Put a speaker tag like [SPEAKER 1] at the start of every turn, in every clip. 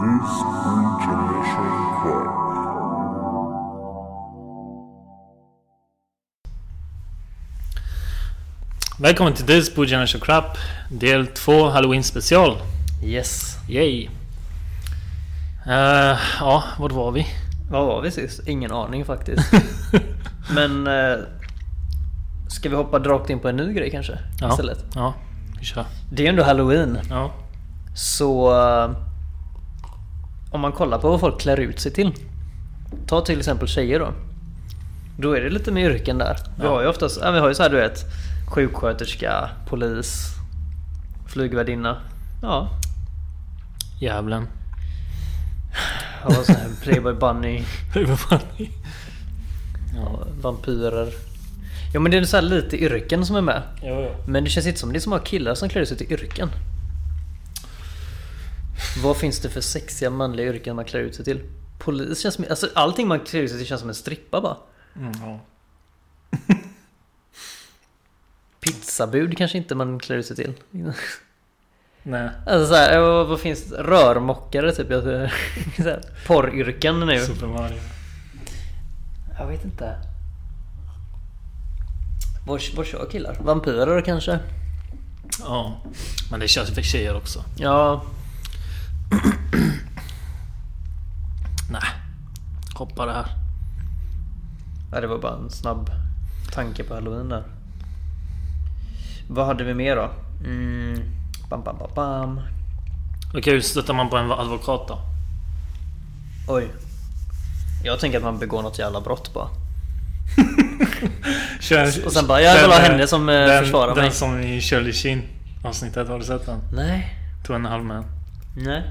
[SPEAKER 1] This international club.
[SPEAKER 2] Välkommen till This Boo Generation Crap Del 2 Halloween special
[SPEAKER 3] Yes.
[SPEAKER 2] Yay! Eh, ja, vart var vi?
[SPEAKER 3] Vad var vi sist? Ingen aning faktiskt. Men... Eh, ska vi hoppa rakt in på en ny grej kanske?
[SPEAKER 2] Ja.
[SPEAKER 3] Istället.
[SPEAKER 2] Ja, vi kör.
[SPEAKER 3] Det är ju ändå halloween.
[SPEAKER 2] Ja.
[SPEAKER 3] Så... Eh, om man kollar på vad folk klär ut sig till. Ta till exempel tjejer då. Då är det lite med yrken där. Vi
[SPEAKER 2] Ja.
[SPEAKER 3] har ju oftast... Ja, vi har ju så här du vet. Sjuksköterska, polis, flygvärdinna. Ja.
[SPEAKER 2] Djävulen.
[SPEAKER 3] Jag har så här Playboy Bunny.
[SPEAKER 2] Vad fan är-
[SPEAKER 3] Ja, vampyrer. Ja men det är så här lite yrken som är med. Men det känns inte som det är så många killar som klär sig till yrken. Vad finns det för sexiga manliga yrken man klär ut sig till? Polis känns som... Alltså allting man klär ut sig till känns som en strippa bara.
[SPEAKER 2] Mm, ja.
[SPEAKER 3] Pizzabud kanske inte man klär ut sig till.
[SPEAKER 2] Nej.
[SPEAKER 3] Alltså såhär, vad, vad finns det? Rörmokare typ. Jag, så här, porryrken nu.
[SPEAKER 2] Super Mario.
[SPEAKER 3] Jag vet inte. Vad vad kör killar? Vampyrer kanske?
[SPEAKER 2] Ja. Men det körs för tjejer också.
[SPEAKER 3] Ja,
[SPEAKER 2] Nej. Hoppa det här.
[SPEAKER 3] Ja, det var bara en snabb tanke på halloween där. Vad hade vi mer då? Mm. Bam, bam, bam, bam.
[SPEAKER 2] Okej, hur stöttar man på en advokat då?
[SPEAKER 3] Oj. Jag tänker att man begår något jävla brott bara.
[SPEAKER 2] Kör,
[SPEAKER 3] Och sen bara, jag vill ha henne som, eh,
[SPEAKER 2] den,
[SPEAKER 3] försvarar
[SPEAKER 2] den
[SPEAKER 3] mig.
[SPEAKER 2] som i Shirley Sheen avsnittet, har du sett den?
[SPEAKER 3] Nej.
[SPEAKER 2] Två och en halv man.
[SPEAKER 3] Nej.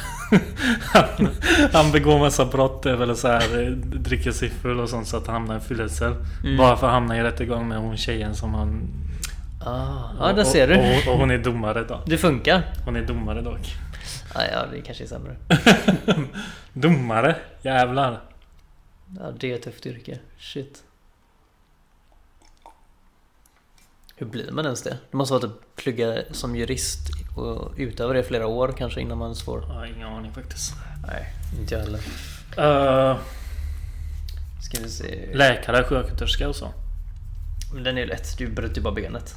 [SPEAKER 2] han, han begår massa brott eller så här, eh, dricker sig full och sånt så att han hamnar i fyllecell.
[SPEAKER 3] Mm.
[SPEAKER 2] Bara för att hamna i rättegång med hon tjejen som han...
[SPEAKER 3] Ah, ja, där ser
[SPEAKER 2] Och,
[SPEAKER 3] du.
[SPEAKER 2] och, och hon är domare då.
[SPEAKER 3] Det funkar.
[SPEAKER 2] Hon är domare dock.
[SPEAKER 3] Ah, ja, det kanske är sämre.
[SPEAKER 2] domare? Jävlar.
[SPEAKER 3] Ja, det är ett tufft yrke. Shit. Hur blir man ens det? Det måste vara att plugga som jurist och utöva det i flera år kanske innan man ens får...
[SPEAKER 2] Jag har ingen aning faktiskt.
[SPEAKER 3] Nej, inte jag heller.
[SPEAKER 2] Eh,
[SPEAKER 3] Ska vi se.
[SPEAKER 2] läkare, sjuksköterska och så.
[SPEAKER 3] Men den är ju lätt, du bryter ju bara benet.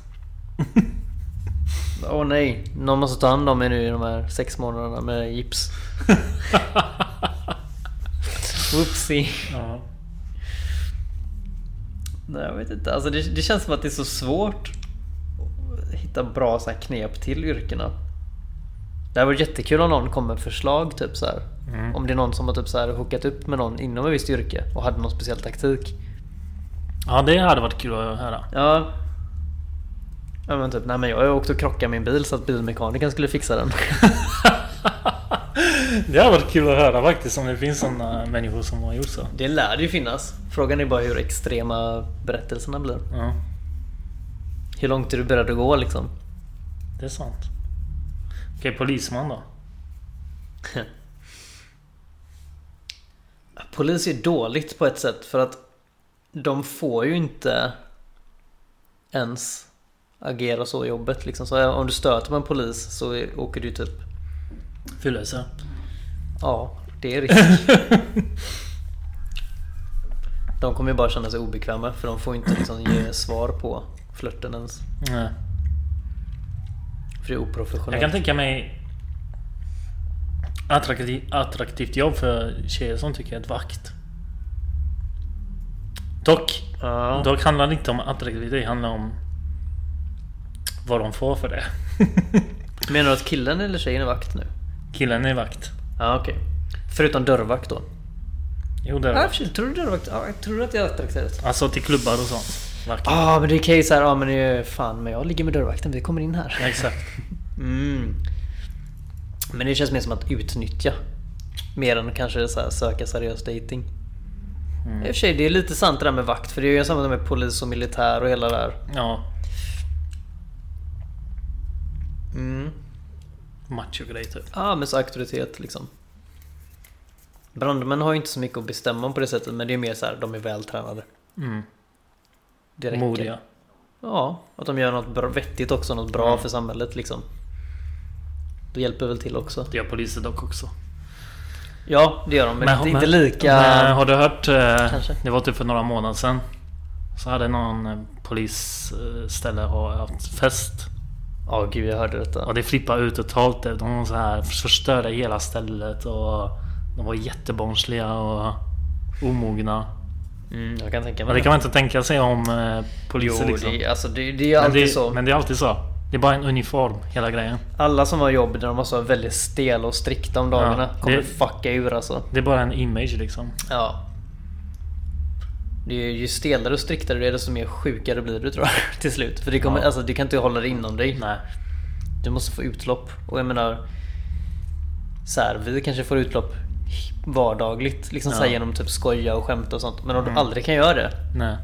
[SPEAKER 3] Åh nej, någon måste ta hand om mig nu i de här sex månaderna med gips. Whoopsie.
[SPEAKER 2] Ja.
[SPEAKER 3] Nej jag vet inte, alltså det, det känns som att det är så svårt att hitta bra så här knep till yrkena. Det här var jättekul om någon kom med förslag typ så här.
[SPEAKER 2] Mm.
[SPEAKER 3] Om det är någon som har typ så här hookat upp med någon inom ett visst yrke och hade någon speciell taktik.
[SPEAKER 2] ja, det hade varit kul att höra.
[SPEAKER 3] Ja. Ja men typ, nej men jag har åkt och krockat min bil så att bilmekanikern skulle fixa den.
[SPEAKER 2] det hade varit kul att höra faktiskt om det finns sådana människor som har gjort så.
[SPEAKER 3] Det lär det ju finnas. Frågan är bara hur extrema berättelserna blir.
[SPEAKER 2] Ja.
[SPEAKER 3] Hur långt är du beredd att gå liksom?
[SPEAKER 2] Det är sant. Okej, polisman då?
[SPEAKER 3] Polis är dåligt på ett sätt för att de får ju inte ens agera så i jobbet liksom. Så om du stöter med en polis så är- åker du typ...
[SPEAKER 2] Fyllelse?
[SPEAKER 3] Ja, det är risk. De kommer ju bara känna sig obekväma för de får inte liksom ge svar på flörten ens.
[SPEAKER 2] Nej.
[SPEAKER 3] För det är
[SPEAKER 2] Jag
[SPEAKER 3] oprofessionellt.
[SPEAKER 2] kan tänka mig attraktiv, attraktivt jobb för tjejer som tycker att vakt. Dock,
[SPEAKER 3] Ja.
[SPEAKER 2] dock handlar det inte om attraktivitet, det handlar om vad de får för det.
[SPEAKER 3] Menar du att killen eller tjejen är vakt nu?
[SPEAKER 2] Killen är vakt.
[SPEAKER 3] Ja, okej. Förutom dörrvakt då?
[SPEAKER 2] Jo, det är
[SPEAKER 3] Ja, i och
[SPEAKER 2] vakt.
[SPEAKER 3] för sig, tror du dörrvakt? Ja, jag tror att det är attraktivt.
[SPEAKER 2] Alltså till klubbar och sånt. Vakt.
[SPEAKER 3] Ja, men det kan ju såhär, ja men det är fan men jag ligger med dörrvakten, vi kommer in här.
[SPEAKER 2] Exakt.
[SPEAKER 3] Mm. Men det känns mer som att utnyttja. Mer än att kanske så här, söka seriös dating. I och för sig, det är lite sant det där med vakt, för det är ju samma med polis och militär och hela det där.
[SPEAKER 2] Ja,
[SPEAKER 3] Mm.
[SPEAKER 2] machogrej typ.
[SPEAKER 3] Ja, men så auktoritet liksom. Brandmän har ju inte så mycket att bestämma om på det sättet, men det är mer så här, de är vältränade.
[SPEAKER 2] Mm.
[SPEAKER 3] Det räcker.
[SPEAKER 2] Modiga. Mm.
[SPEAKER 3] Ja, att de gör något bra, vettigt också, något bra för samhället liksom. Det hjälper väl till också.
[SPEAKER 2] Det gör poliser dock också.
[SPEAKER 3] Ja, det gör de. Men, inte, inte
[SPEAKER 2] men-
[SPEAKER 3] lika...
[SPEAKER 2] Men, har du hört? eh,
[SPEAKER 3] Kanske.
[SPEAKER 2] Det var typ för några månader sedan. Så hade någon eh, polisställe ha- haft fest.
[SPEAKER 3] Ja, gud jag hörde detta.
[SPEAKER 2] Och det flippade ut totalt. De var så här, förstörde hela stället och de var jättebarnsliga och omogna.
[SPEAKER 3] Mm, jag kan tänka mig
[SPEAKER 2] Men det kan man inte tänka sig om eh, poliser
[SPEAKER 3] Jo,
[SPEAKER 2] liksom.
[SPEAKER 3] det, alltså, det, det är ju
[SPEAKER 2] men,
[SPEAKER 3] alltid
[SPEAKER 2] det,
[SPEAKER 3] så.
[SPEAKER 2] men det är alltid så. Det är bara en uniform, hela grejen.
[SPEAKER 3] Alla som har jobb där de måste vara väldigt stela och strikta om dagarna
[SPEAKER 2] Ja,
[SPEAKER 3] kommer
[SPEAKER 2] det-
[SPEAKER 3] fucka ur alltså.
[SPEAKER 2] Det är bara en image liksom.
[SPEAKER 3] Ja. Det är ju, ju stelare och striktare du är desto mer sjukare blir du tror jag till slut. För det kommer,
[SPEAKER 2] Ja.
[SPEAKER 3] alltså, du kan inte hålla det inom dig.
[SPEAKER 2] Nej.
[SPEAKER 3] Du måste få utlopp. Och jag menar... Så här, vi kanske får utlopp vardagligt. Liksom så här
[SPEAKER 2] Ja.
[SPEAKER 3] genom typ skoja och skämta och sånt. Men om
[SPEAKER 2] Mm.
[SPEAKER 3] du aldrig kan göra det.
[SPEAKER 2] Nej.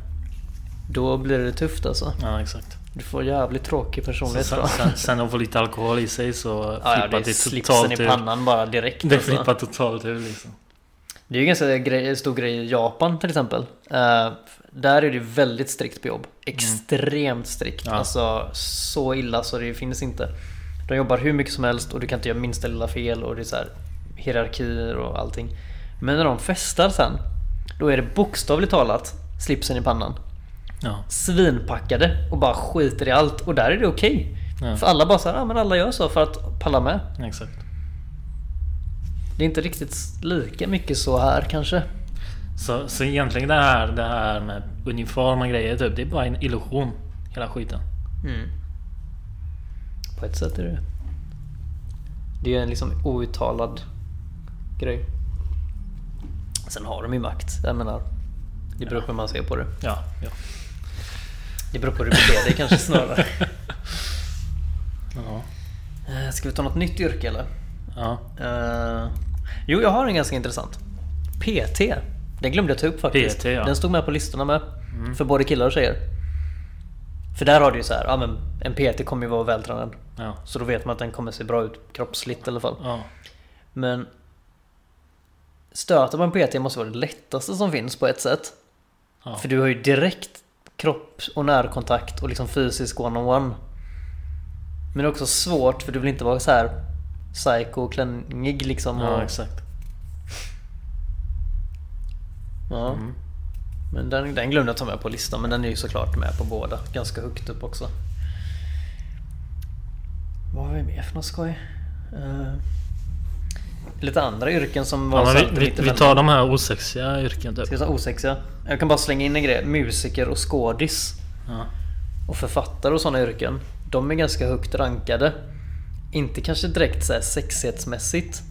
[SPEAKER 3] Då blir det tufft alltså.
[SPEAKER 2] Ja, exakt.
[SPEAKER 3] Du får jävligt tråkig
[SPEAKER 2] Så
[SPEAKER 3] personlighet
[SPEAKER 2] sen,
[SPEAKER 3] tror
[SPEAKER 2] sen,
[SPEAKER 3] jag.
[SPEAKER 2] sen de får lite alkohol i sig så
[SPEAKER 3] Ja, ja,
[SPEAKER 2] flippar
[SPEAKER 3] det är
[SPEAKER 2] det
[SPEAKER 3] slipsen
[SPEAKER 2] totalt
[SPEAKER 3] i
[SPEAKER 2] ur.
[SPEAKER 3] pannan bara direkt.
[SPEAKER 2] Det
[SPEAKER 3] alltså.
[SPEAKER 2] flippar totalt ur liksom.
[SPEAKER 3] Det är ju ganska grej, stor grej i Japan till exempel. Eh, där är det ju väldigt strikt på jobb. Extremt strikt.
[SPEAKER 2] Mm. Ja.
[SPEAKER 3] Alltså så illa så det finns inte. De jobbar hur mycket som helst och du kan inte göra minsta lilla fel och det är så här hierarkier och allting. Men när de festar sen, då är det bokstavligt talat slipsen i pannan.
[SPEAKER 2] Ja.
[SPEAKER 3] Svinpackade och bara skiter i allt och där är det okej.
[SPEAKER 2] Ja.
[SPEAKER 3] För alla bara så här, ah, men alla gör så för att palla med.
[SPEAKER 2] Exakt.
[SPEAKER 3] Det är inte riktigt lika mycket så här kanske.
[SPEAKER 2] Så, så egentligen det här, det här med uniform och grejer typ, det är bara en illusion. Hela skiten.
[SPEAKER 3] På ett sätt är det det. Det är ju en liksom outtalad grej. Sen har de ju makt, jag menar. Det beror på hur man ser på det.
[SPEAKER 2] Ja, ja.
[SPEAKER 3] Det beror på hur du beter dig kanske snarare.
[SPEAKER 2] Ja.
[SPEAKER 3] Eh, Ska vi ta något nytt yrke eller?
[SPEAKER 2] ja.
[SPEAKER 3] Eh, jo, jag har en ganska intressant. PT. Den glömde jag ta upp faktiskt.
[SPEAKER 2] PT, ja.
[SPEAKER 3] Den stod med på listorna med. För både killar och tjejer. För där har du ju så här, ja men en PT kommer ju vara vältränad.
[SPEAKER 2] Ja.
[SPEAKER 3] Så då vet man att den kommer se bra ut kroppsligt i alla fall.
[SPEAKER 2] ja.
[SPEAKER 3] Men stöta på en PT måste vara det lättaste som finns på ett sätt.
[SPEAKER 2] Ja. Mm.
[SPEAKER 3] För du har ju direkt kropp och närkontakt och liksom fysisk one-on-one. Men det är också svårt för du vill inte vara så här psycho och klängig liksom.
[SPEAKER 2] ja,
[SPEAKER 3] och,
[SPEAKER 2] exakt.
[SPEAKER 3] ja. Men den, den glömde jag ta med på listan men den är ju såklart med på båda. Ganska högt upp också. Vad har vi mer för något skoj? Eh, lite andra yrken som var
[SPEAKER 2] Ja,
[SPEAKER 3] satt
[SPEAKER 2] men vi,
[SPEAKER 3] lite
[SPEAKER 2] vi, vi
[SPEAKER 3] mellan-
[SPEAKER 2] tar de här osexiga yrken typ.
[SPEAKER 3] Ska jag säga osexiga? Jag kan bara slänga in en grej. Musiker och skådis
[SPEAKER 2] Ja.
[SPEAKER 3] och författare och sådana yrken. De är ganska högt rankade. Inte kanske direkt så här sexighetsmässigt.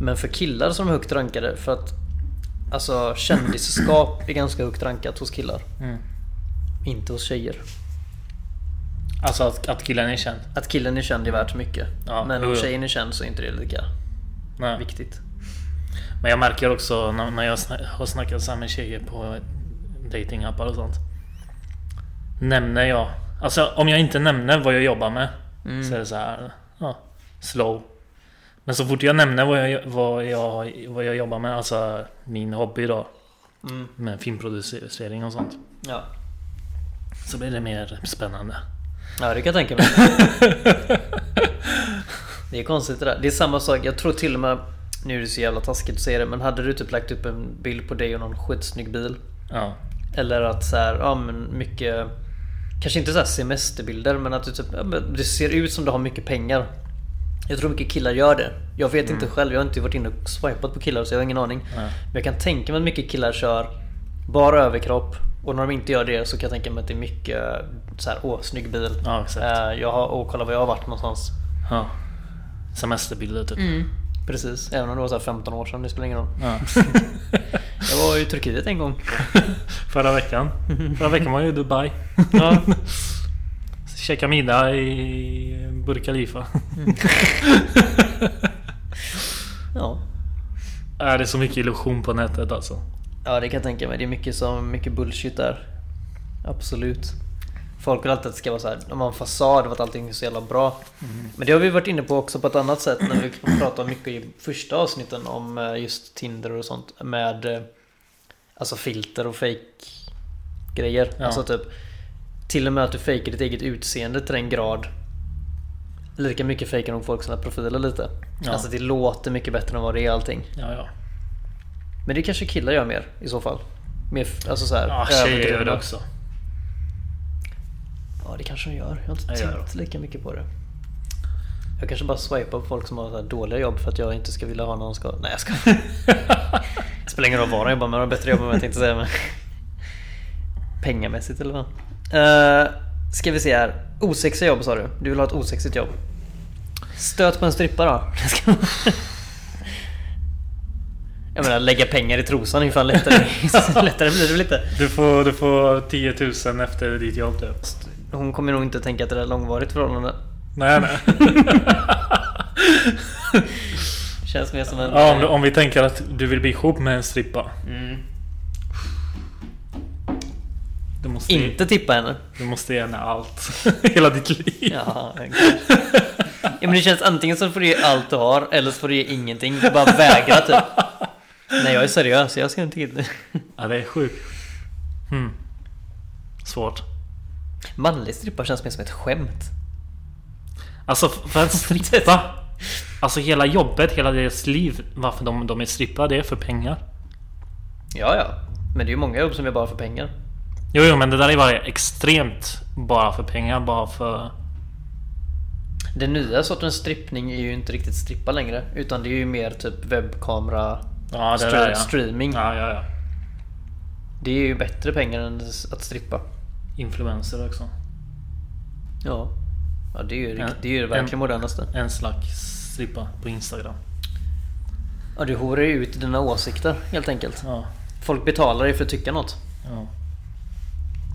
[SPEAKER 3] Men för killar som är högt rankade för att alltså kändisskap är ganska högt rankat hos killar.
[SPEAKER 2] Mm.
[SPEAKER 3] Inte hos tjejer.
[SPEAKER 2] Alltså att, att killen är känd.
[SPEAKER 3] Att killen är känd är värt mycket.
[SPEAKER 2] Ja,
[SPEAKER 3] men
[SPEAKER 2] jo,
[SPEAKER 3] om
[SPEAKER 2] jo.
[SPEAKER 3] tjejen är känd så är inte det lika
[SPEAKER 2] Nej.
[SPEAKER 3] viktigt.
[SPEAKER 2] Men jag märker också när, när jag sna- har snackat så här med tjejer på datingappar och sånt. Nämner jag. Alltså om jag inte nämner vad jag jobbar med.
[SPEAKER 3] Mm.
[SPEAKER 2] Så är det så här. Ja, slow. Men så fort jag nämner vad jag, vad jag, vad jag jobbar med. Alltså min hobby då.
[SPEAKER 3] Mm.
[SPEAKER 2] Med filmproducering och sånt.
[SPEAKER 3] Ja.
[SPEAKER 2] Så blir det mer spännande.
[SPEAKER 3] Ja, det kan jag tänka mig. det är konstigt det där. Det är samma sak, jag tror till och med... Nu är det så jävla taskigt att säga det, men hade du typ lagt upp en bild på dig och någon skitsnygg bil?
[SPEAKER 2] Ja.
[SPEAKER 3] Eller att så här, ja men mycket... Kanske inte så här semesterbilder, men att du typ... Ja, men det ser ut som du har mycket pengar. Jag tror mycket killar gör det. Jag vet
[SPEAKER 2] Mm.
[SPEAKER 3] inte själv, jag har inte varit inne och swipat på killar så jag har ingen aning.
[SPEAKER 2] Nej.
[SPEAKER 3] Men jag kan tänka mig att mycket killar kör bara överkropp. Och när de inte gör det så kan jag tänka mig att det är mycket eh, så här, åh snygg bil.
[SPEAKER 2] Ja, exakt.
[SPEAKER 3] Eh, Jag har, och kolla var jag har varit någonstans.
[SPEAKER 2] ja. Semesterbilder typ.
[SPEAKER 3] Precis, även om det var så här 15 år sedan, det spelar ingen roll.
[SPEAKER 2] Ja.
[SPEAKER 3] Jag var i Turkiet en gång.
[SPEAKER 2] Förra veckan. Förra veckan var jag i Dubai.
[SPEAKER 3] Ja.
[SPEAKER 2] Käka middag i Burj Khalifa.
[SPEAKER 3] Ja.
[SPEAKER 2] Är det är så mycket illusion på nätet alltså?
[SPEAKER 3] ja, det kan jag tänka mig. Det är mycket, som, mycket bullshit där. Absolut. Folk vill alltid att det ska vara så här, de har en fasad av att allting är så jävla bra.
[SPEAKER 2] Mm.
[SPEAKER 3] Men det har vi varit inne på också på ett annat sätt när vi pratade mycket i första avsnitten om eh, just Tinder och sånt med eh, alltså filter och fake grejer.
[SPEAKER 2] Ja.
[SPEAKER 3] Alltså typ till och med att du fejkar ditt eget utseende till den grad Lika mycket fejkar de folk sina profiler lite.
[SPEAKER 2] Ja.
[SPEAKER 3] Alltså det låter mycket bättre än vad det är allting.
[SPEAKER 2] Ja, ja.
[SPEAKER 3] Men det kanske killar gör mer i så fall. Mer, f- alltså så här,
[SPEAKER 2] Ja, tjejer gör
[SPEAKER 3] överdrivna.
[SPEAKER 2] det Ah, också.
[SPEAKER 3] Ja det kanske de gör. Jag har inte
[SPEAKER 2] Jag gör
[SPEAKER 3] tänkt lika mycket på det. Jag kanske bara swipar på folk som har så här dåliga jobb för att jag inte ska vilja ha någon ska... Nej jag ska Det spelar ingen roll var de jobbar men de har bättre jobb än vad jag tänkte säga. Men... Pengamässigt eller vad? Uh, ska vi se här. Osexiga jobb sa du. Du vill ha ett osexigt jobb. Stöt på en strippa då. jag menar lägga pengar i trosan är ju fan lättare. lättare blir det väl inte?
[SPEAKER 2] Du får, du får 10 000 efter ditt jobb typ.
[SPEAKER 3] Hon kommer nog inte tänka att det där är ett långvarigt förhållande.
[SPEAKER 2] Nej, nej.
[SPEAKER 3] Känns mer som en...
[SPEAKER 2] ja, om, du, om vi tänker att du vill bli ihop med en strippa.
[SPEAKER 3] Mm.
[SPEAKER 2] Du måste, ge-
[SPEAKER 3] Inte tippa henne.
[SPEAKER 2] du måste ge henne allt. Hela ditt liv.
[SPEAKER 3] Ja, okej. ja, men det känns antingen så får du ge allt du har eller så får du ge ingenting. Du bara vägra typ. Nej jag är seriös, jag ska inte in.
[SPEAKER 2] Ja, det är sjukt. Hmm. Svårt.
[SPEAKER 3] Manlig strippa känns mer som ett skämt.
[SPEAKER 2] Alltså f- för en strippa. Alltså hela jobbet, hela deras liv. Varför de, de är strippa, det är för pengar.
[SPEAKER 3] Ja, ja. Men det är ju många jobb som är bara för pengar.
[SPEAKER 2] Jo, jo, men det där är bara extremt bara för pengar. Bara för...
[SPEAKER 3] Den nya sortens strippning är ju inte riktigt strippa längre. Utan det är ju mer typ webbkamera,
[SPEAKER 2] Ja, det
[SPEAKER 3] stre-
[SPEAKER 2] där ja.
[SPEAKER 3] streaming.
[SPEAKER 2] Ja, ja, ja.
[SPEAKER 3] Det är ju bättre pengar än att strippa.
[SPEAKER 2] Influencer också.
[SPEAKER 3] Ja. Ja det är ju, rikt-
[SPEAKER 2] Ja.
[SPEAKER 3] det, är ju det verkligen
[SPEAKER 2] En-
[SPEAKER 3] modernaste.
[SPEAKER 2] En slags strippa på Instagram.
[SPEAKER 3] Ja du hårar ju ut dina åsikter helt enkelt.
[SPEAKER 2] Ja,
[SPEAKER 3] Folk betalar dig för att tycka något.
[SPEAKER 2] ja.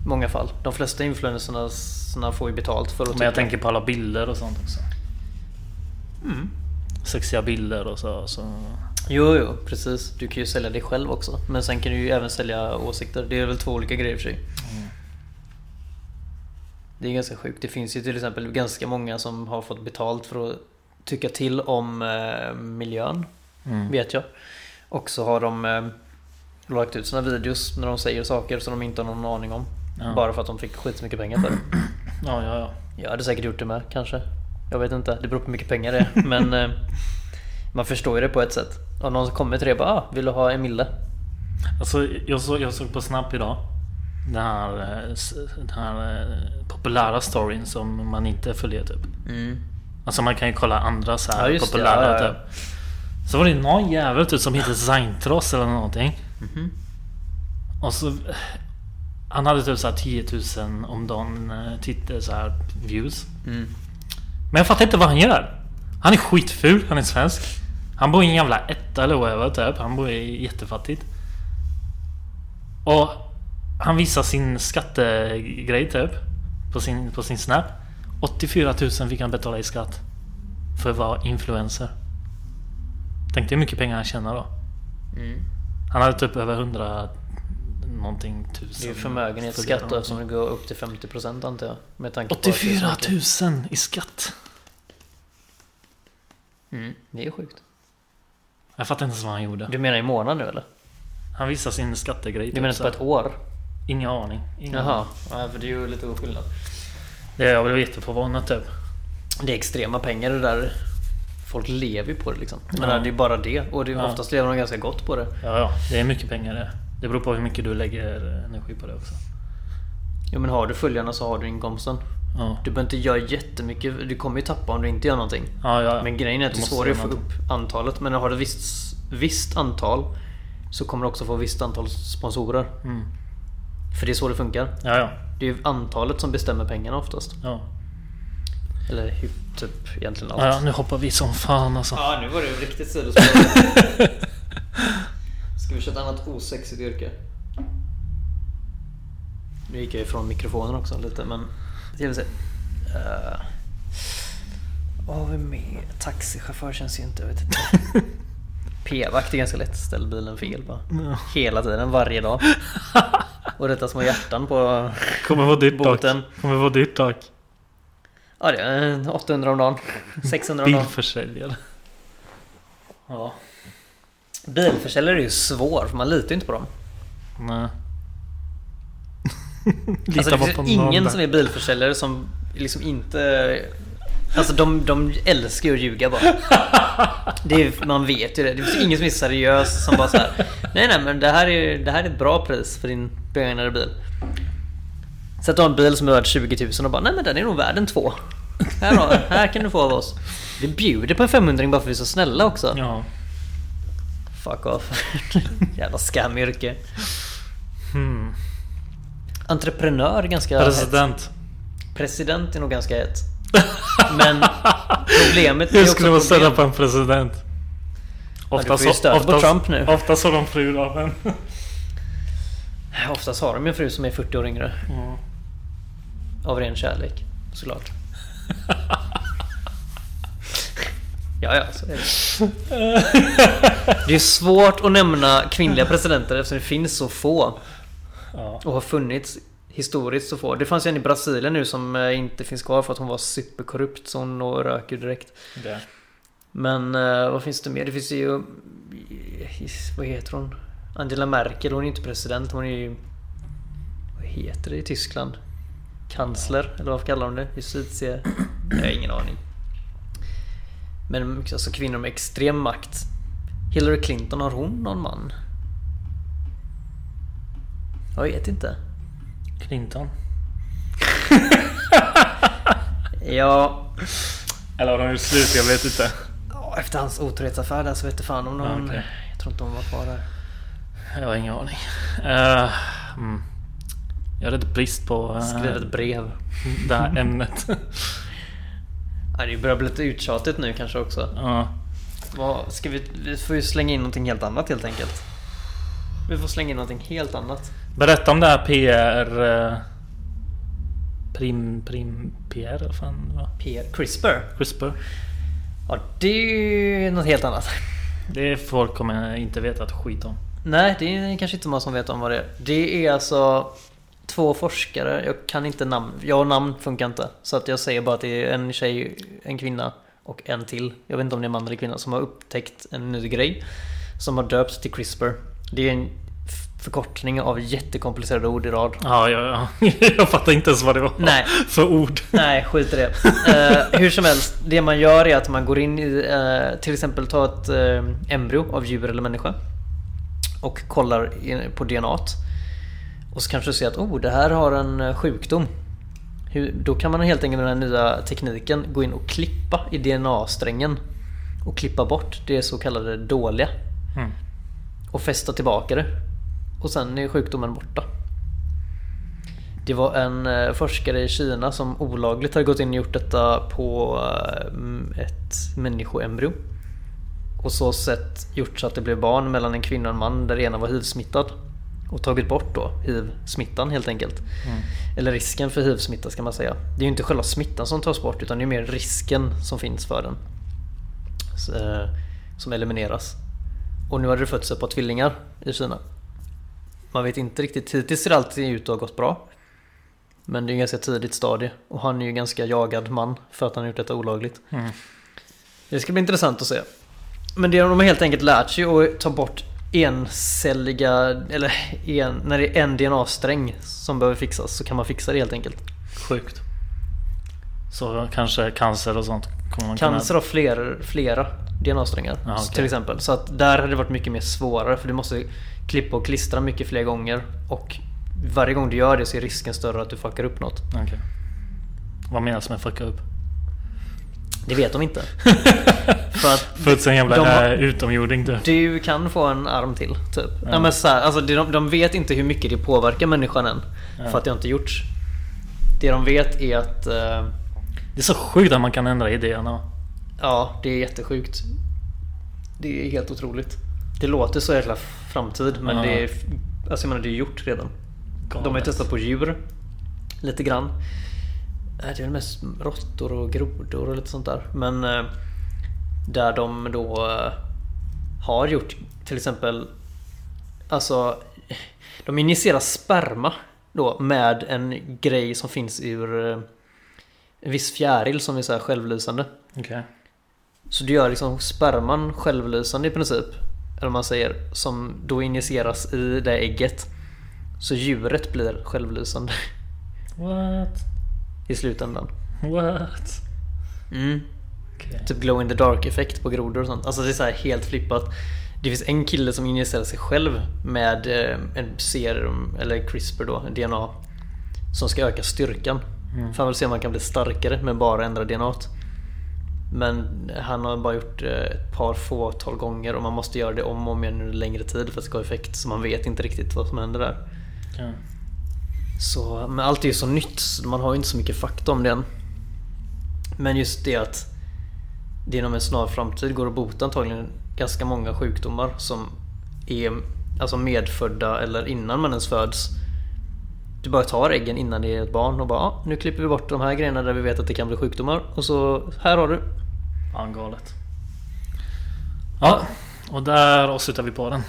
[SPEAKER 3] I många fall. De flesta influencerna såna får ju betalt för att
[SPEAKER 2] Men jag
[SPEAKER 3] tycka.
[SPEAKER 2] tänker på alla bilder och sånt också. Mm. Sexiga bilder och så. så.
[SPEAKER 3] Jo, jo, precis. Du kan ju sälja dig själv också. Men sen kan du ju även sälja åsikter. Det är väl två olika grejer i och för sig. Det är ganska sjukt. Det finns ju till exempel ganska många som har fått betalt för att tycka till om eh, miljön.
[SPEAKER 2] Mm.
[SPEAKER 3] Vet jag. Och så har de eh, lagt ut sina videos när de säger saker som de inte har någon aning om.
[SPEAKER 2] Ja.
[SPEAKER 3] Bara för att de fick skitmycket pengar för det.
[SPEAKER 2] Ja, ja, ja.
[SPEAKER 3] Jag hade säkert gjort det med kanske. Jag vet inte, det beror på hur mycket pengar det är. Men eh, man förstår ju det på ett sätt. Om någon kommer till dig och bara ah, “Vill du ha en mille?”
[SPEAKER 2] Alltså, jag, såg, jag såg på Snap idag den här, eh, s- den här eh, populära storyn som man inte följer typ. Alltså man kan ju kolla andra så här
[SPEAKER 3] Mm. Ja, just det.
[SPEAKER 2] populära
[SPEAKER 3] Ja, ja, ja.
[SPEAKER 2] typ. Så var det någon jävel typ som hette Zaintros eller någonting.
[SPEAKER 3] Mhm.
[SPEAKER 2] Och så... eh, Han hade typ så här 10 000 om dagen eh, tittare så här views.
[SPEAKER 3] Mm.
[SPEAKER 2] Men jag fattar inte vad han gör. Han är skitful, han är svensk. Han bor i en jävla etta eller whatever typ. Han bor i jättefattigt. Och han visar sin skattegrej typ. På sin, på sin snap. 84 000 fick han betala i skatt. För att vara influencer. Tänk dig hur mycket pengar han tjänar då.
[SPEAKER 3] Mm.
[SPEAKER 2] Han hade typ över 100 någonting tusen.
[SPEAKER 3] Det är ju förmögenhetsskatt då eftersom det går upp till 50% antar jag. Med tanke på att det är så
[SPEAKER 2] 84
[SPEAKER 3] mycket.
[SPEAKER 2] 000 i skatt.
[SPEAKER 3] Mm. Det är sjukt.
[SPEAKER 2] Jag fattar inte ens vad han gjorde.
[SPEAKER 3] Du menar i månaden nu eller?
[SPEAKER 2] Han visar sin skattegrej.
[SPEAKER 3] Du menar
[SPEAKER 2] typ
[SPEAKER 3] på
[SPEAKER 2] så
[SPEAKER 3] ett år?
[SPEAKER 2] här. Ingen aning. Ingen
[SPEAKER 3] Jaha.
[SPEAKER 2] aning.
[SPEAKER 3] Ja, för det är ju lite stor skillnad.
[SPEAKER 2] Det, jag blev jätteförvånad typ.
[SPEAKER 3] Det är extrema pengar det där. Folk lever ju på det liksom. Men
[SPEAKER 2] Ja.
[SPEAKER 3] det är bara det. Och det, är-
[SPEAKER 2] Ja.
[SPEAKER 3] oftast lever de ganska gott på det.
[SPEAKER 2] Ja, ja. Det är mycket pengar det. Det beror på hur mycket du lägger eh, energi på det också.
[SPEAKER 3] Jo men har du följarna så har du inkomsten.
[SPEAKER 2] Ja,
[SPEAKER 3] Du behöver inte göra jättemycket, du kommer ju tappa om du inte gör någonting.
[SPEAKER 2] ja. ja.
[SPEAKER 3] Men grejen är att
[SPEAKER 2] Du
[SPEAKER 3] det är
[SPEAKER 2] måste
[SPEAKER 3] svårare
[SPEAKER 2] göra
[SPEAKER 3] att få
[SPEAKER 2] någonting.
[SPEAKER 3] upp antalet. Men har du ett visst, visst antal så kommer du också få ett visst antal sponsorer.
[SPEAKER 2] Mm.
[SPEAKER 3] För det är så det funkar.
[SPEAKER 2] Ja, ja.
[SPEAKER 3] Det är ju antalet som bestämmer pengarna oftast.
[SPEAKER 2] Ja.
[SPEAKER 3] Eller hur, typ egentligen allt.
[SPEAKER 2] Ja, ja, nu hoppar vi som fan alltså.
[SPEAKER 3] Ja, nu var det ju riktigt sidospår. Ska vi köra ett annat osexigt yrke? Nu gick jag ifrån mikrofonen också lite, men... Ska vi se. Eh, Vad har vi mer? Taxichaufför känns ju inte... Jag vet inte. P-vakt är ganska lätt. Ställ bilen fel bara.
[SPEAKER 2] Ja.
[SPEAKER 3] Hela tiden, varje dag. Och detta små hjärtan på...
[SPEAKER 2] Kommer vara dyrt dock.
[SPEAKER 3] Boten.
[SPEAKER 2] Kommer vara dyrt dock.
[SPEAKER 3] Ja, det är eh, 800 om dagen. 600 om dagen.
[SPEAKER 2] Bilförsäljare. Ja.
[SPEAKER 3] Bilförsäljare är ju svår, för man litar ju inte på dem.
[SPEAKER 2] Nej. Alltså,
[SPEAKER 3] Alltså,
[SPEAKER 2] Lita
[SPEAKER 3] det
[SPEAKER 2] bara
[SPEAKER 3] Alltså, finns
[SPEAKER 2] på
[SPEAKER 3] ju
[SPEAKER 2] någon
[SPEAKER 3] ingen
[SPEAKER 2] där.
[SPEAKER 3] som är bilförsäljare som liksom inte Alltså de, de älskar ju att ljuga bara. Det är, man vet ju det. Det finns ingen som är seriös som bara så här. Nej nej men det här är, det här är ett bra pris för din begagnade bil. Sätt du har en bil som är värd 20 000 och bara nej men den är nog värd en två. Här, har, här kan du få av oss. Vi bjuder på en 500 bara för att vi är så snälla också.
[SPEAKER 2] Ja.
[SPEAKER 3] Fuck off. Jävla skamyrke.
[SPEAKER 2] Hmm.
[SPEAKER 3] Entreprenör är ganska hett.
[SPEAKER 2] President.
[SPEAKER 3] President är nog ganska hett. Men problemet är
[SPEAKER 2] Jag
[SPEAKER 3] också
[SPEAKER 2] skulle vara ställa
[SPEAKER 3] problem.
[SPEAKER 2] på en president.
[SPEAKER 3] du får ju stöta på Trump nu.
[SPEAKER 2] Oftast har de frun av en.
[SPEAKER 3] Eh, Oftast har de ju en fru som är 40 år yngre. Av ren kärlek, såklart. ja, ja, så är det. Det är svårt att nämna kvinnliga presidenter eftersom det finns så få.
[SPEAKER 2] Ja.
[SPEAKER 3] Och har funnits historiskt så få. Det fanns ju en i Brasilien nu som eh, inte finns kvar för att hon var superkorrupt så hon nog rök ju direkt.
[SPEAKER 2] Det.
[SPEAKER 3] Men eh, vad finns det mer? Det finns ju... Vad heter hon? Angela Merkel, hon är ju inte president. Hon är ju... Vad heter det i Tyskland? Kansler, eller vad kallar de det? Justitie... Jag har ingen aning. Men alltså kvinnor med extrem makt. Hillary Clinton, har hon någon man? Jag vet inte.
[SPEAKER 2] Clinton.
[SPEAKER 3] Ja,
[SPEAKER 2] Eller har de gjort slut? Jag vet inte.
[SPEAKER 3] ja, efter hans otrohetsaffär där så vet jag fan om någon...
[SPEAKER 2] Ja, okej.
[SPEAKER 3] Jag tror inte hon var kvar där.
[SPEAKER 2] Jag har ingen aning. Eh, mm. Jag har lite brist på eh,
[SPEAKER 3] Skrev ett brev.
[SPEAKER 2] det här ämnet.
[SPEAKER 3] Ja, det börjar bli lite uttjatigt nu kanske också.
[SPEAKER 2] Ja.
[SPEAKER 3] Vad, ska vi, vi får ju slänga in någonting helt annat helt enkelt. Vi får slänga in någonting helt annat.
[SPEAKER 2] Berätta om det här PR... eh, Prim... Prim... PR? Vad fan det var?
[SPEAKER 3] PR, CRISPR.
[SPEAKER 2] CRISPR.
[SPEAKER 3] Ja, det är ju något helt annat.
[SPEAKER 2] Det är folk kommer inte veta ett skit om.
[SPEAKER 3] Nej, det är kanske inte många som vet om vad det är. Det är alltså två forskare. Jag kan inte namn. Jag och namn funkar inte. Så att jag säger bara att det är en tjej, en kvinna och en till. Jag vet inte om det är man eller kvinna som har upptäckt en ny grej. Som har döpts till CRISPR. Det är en f- förkortning av jättekomplicerade ord i rad.
[SPEAKER 2] Ja, jag, jag fattar inte ens vad det var
[SPEAKER 3] Nej.
[SPEAKER 2] för ord.
[SPEAKER 3] Nej, skit i det. Eh, hur som helst, det man gör är att man går in i, eh, till exempel ta ett eh, embryo av djur eller människa. Och kollar i- på DNA. t. Och så kanske du ser att oh, det här har en eh, sjukdom. Hur, då kan man helt enkelt med den här nya tekniken gå in och klippa i DNA-strängen. Och klippa bort det så kallade dåliga.
[SPEAKER 2] Mm.
[SPEAKER 3] Och fästa tillbaka det. Och sen är sjukdomen borta. Det var en eh, forskare i Kina som olagligt hade gått in och gjort detta på eh, m- ett människoembryo. Och så sett gjort så att det blev barn mellan en kvinna och en man där ena var hiv-smittad. Och tagit bort då hiv-smittan helt enkelt. Eller risken för hiv-smitta ska man säga. Det är ju inte själva smittan som tas bort utan det är mer risken som finns för den. Så, eh, Som elimineras. Och nu har det fötts ett par tvillingar i Kina. Man vet inte riktigt. Hittills ser det alltid ut att ha gått bra. Men det är ju ganska tidigt stadie. Och han är ju ganska jagad man för att han har gjort detta olagligt.
[SPEAKER 2] Mm.
[SPEAKER 3] Det ska bli intressant att se. Men det de har helt enkelt lärt sig att ta bort encelliga, eller en, när det är en DNA-sträng som behöver fixas så kan man fixa det helt enkelt.
[SPEAKER 2] Sjukt. Så kanske cancer och sånt kommer man
[SPEAKER 3] Cancer har fler, flera DNA-strängar
[SPEAKER 2] Ja, okej.
[SPEAKER 3] till exempel. Så att där hade det varit mycket mer svårare för du måste klippa och klistra mycket fler gånger. Och varje gång du gör det så är risken större att du fuckar upp något.
[SPEAKER 2] kunna... Okej. Vad menas med fucka upp?
[SPEAKER 3] Det vet de inte. för att
[SPEAKER 2] Få ut en jävla
[SPEAKER 3] de har-
[SPEAKER 2] eh, utomjording du.
[SPEAKER 3] Du kan få en arm till, typ.
[SPEAKER 2] Ja.
[SPEAKER 3] Nej, men så här, alltså, det- de, de vet inte hur mycket det påverkar människan än.
[SPEAKER 2] Ja.
[SPEAKER 3] För att det har inte gjorts. Det de vet är att eh,
[SPEAKER 2] Det är så sjukt att man kan ändra idéerna.
[SPEAKER 3] ja, det är jättesjukt. Det är helt otroligt. Det låter så jäkla framtid, men
[SPEAKER 2] Ja.
[SPEAKER 3] det är... Alltså jag menar, det är gjort redan.
[SPEAKER 2] Galet.
[SPEAKER 3] De har ju testat på djur. Lite grann. Eh, Det är väl mest råttor och grodor och lite sånt där. Men eh, där de då eh, har gjort till exempel Alltså De injicerar sperma då med en grej som finns ur eh, En viss fjäril som är så här självlysande.
[SPEAKER 2] Okej.
[SPEAKER 3] Så du gör liksom sperman självlysande i princip. Eller vad man säger. Som då injiceras i det ägget. Så djuret blir självlysande
[SPEAKER 2] What?
[SPEAKER 3] i slutändan.
[SPEAKER 2] What?
[SPEAKER 3] Mm. Typ glow in the dark effekt på grodor och sånt. Alltså det är så här helt flippat. Det finns en kille som injicerar sig själv med eh, en serum, eller CRISPR då, DNA. Som ska öka styrkan. För han vill se om han kan bli starkare men bara ändra DNA. t. Men han har bara gjort eh, ett par fåtal gånger och man måste göra det om och om igen under längre tid för att det ska ha effekt. Så man vet inte riktigt vad som händer där.
[SPEAKER 2] Ja.
[SPEAKER 3] Så, men allt är ju så nytt, så man har ju inte så mycket fakta om det än. Men just det att det inom en snar framtid går att bota antagligen ganska många sjukdomar som är alltså medfödda eller innan man ens föds. Du bara tar äggen innan det är ett barn och bara ah, nu klipper vi bort de här grejerna där vi vet att det kan bli sjukdomar och så här har du.
[SPEAKER 2] Fan galet. Ja, och där avslutar vi på den.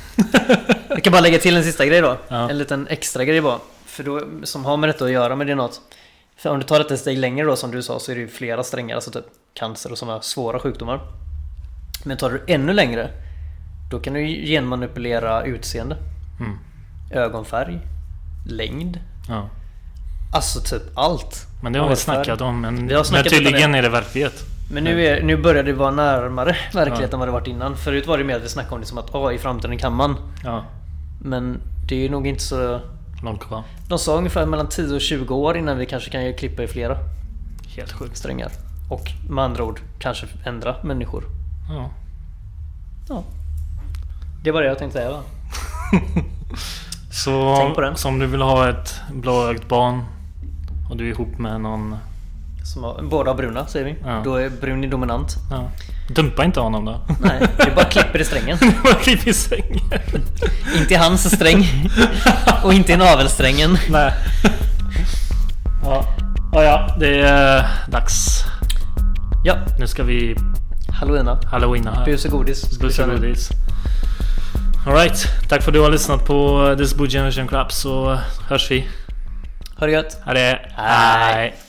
[SPEAKER 3] Jag kan bara lägga till en sista grej då.
[SPEAKER 2] Ja.
[SPEAKER 3] En liten extra grej bara. För då, som har med detta att göra med det något. För om du tar detta ett steg längre då som du sa så är det ju flera strängar, alltså typ cancer och sådana svåra sjukdomar. Men tar du ännu längre, då kan du ju genmanipulera utseende,
[SPEAKER 2] Mm.
[SPEAKER 3] ögonfärg, längd,
[SPEAKER 2] Ja.
[SPEAKER 3] alltså typ allt.
[SPEAKER 2] Men det har vi
[SPEAKER 3] Hårfärg.
[SPEAKER 2] snackat om. Men,
[SPEAKER 3] Vi har snackat
[SPEAKER 2] men
[SPEAKER 3] om
[SPEAKER 2] tydligen är det verklighet.
[SPEAKER 3] Men nu, är, nu börjar det vara närmare verkligheten än vad det varit innan. Förut var det mer att vi snackade om det som att ah, i framtiden kan man.
[SPEAKER 2] Ja,
[SPEAKER 3] Men det är nog inte så
[SPEAKER 2] långt kvar.
[SPEAKER 3] De sa ungefär mellan 10 och 20 år innan vi kanske kan ju klippa i flera
[SPEAKER 2] Helt sjukt.
[SPEAKER 3] strängar. Och med andra ord kanske ändra människor.
[SPEAKER 2] Ja.
[SPEAKER 3] Ja. Det var det jag tänkte säga va?
[SPEAKER 2] Så,
[SPEAKER 3] Tänk på den.
[SPEAKER 2] så om du vill ha ett blåögt barn och du är ihop med någon...
[SPEAKER 3] Som har, båda har bruna säger vi.
[SPEAKER 2] Ja.
[SPEAKER 3] Då är brun är dominant.
[SPEAKER 2] Ja. Dumpa inte honom då.
[SPEAKER 3] Nej, du bara klipper i strängen.
[SPEAKER 2] Du bara klipper i sängen.
[SPEAKER 3] inte i hans sträng. och inte i navelsträngen.
[SPEAKER 2] Nej. Ja. Ja, ja, det är dags.
[SPEAKER 3] Ja,
[SPEAKER 2] Nu ska vi
[SPEAKER 3] halloweena.
[SPEAKER 2] halloweena här.
[SPEAKER 3] Bus och godis. ska vi
[SPEAKER 2] Buss och
[SPEAKER 3] köra nu.
[SPEAKER 2] godis. Alright, tack för att du har lyssnat på eh, This Blue Generation Crap så eh, hörs vi.
[SPEAKER 3] Ha det gött.
[SPEAKER 2] Ha det!
[SPEAKER 3] Hej.
[SPEAKER 2] Hej.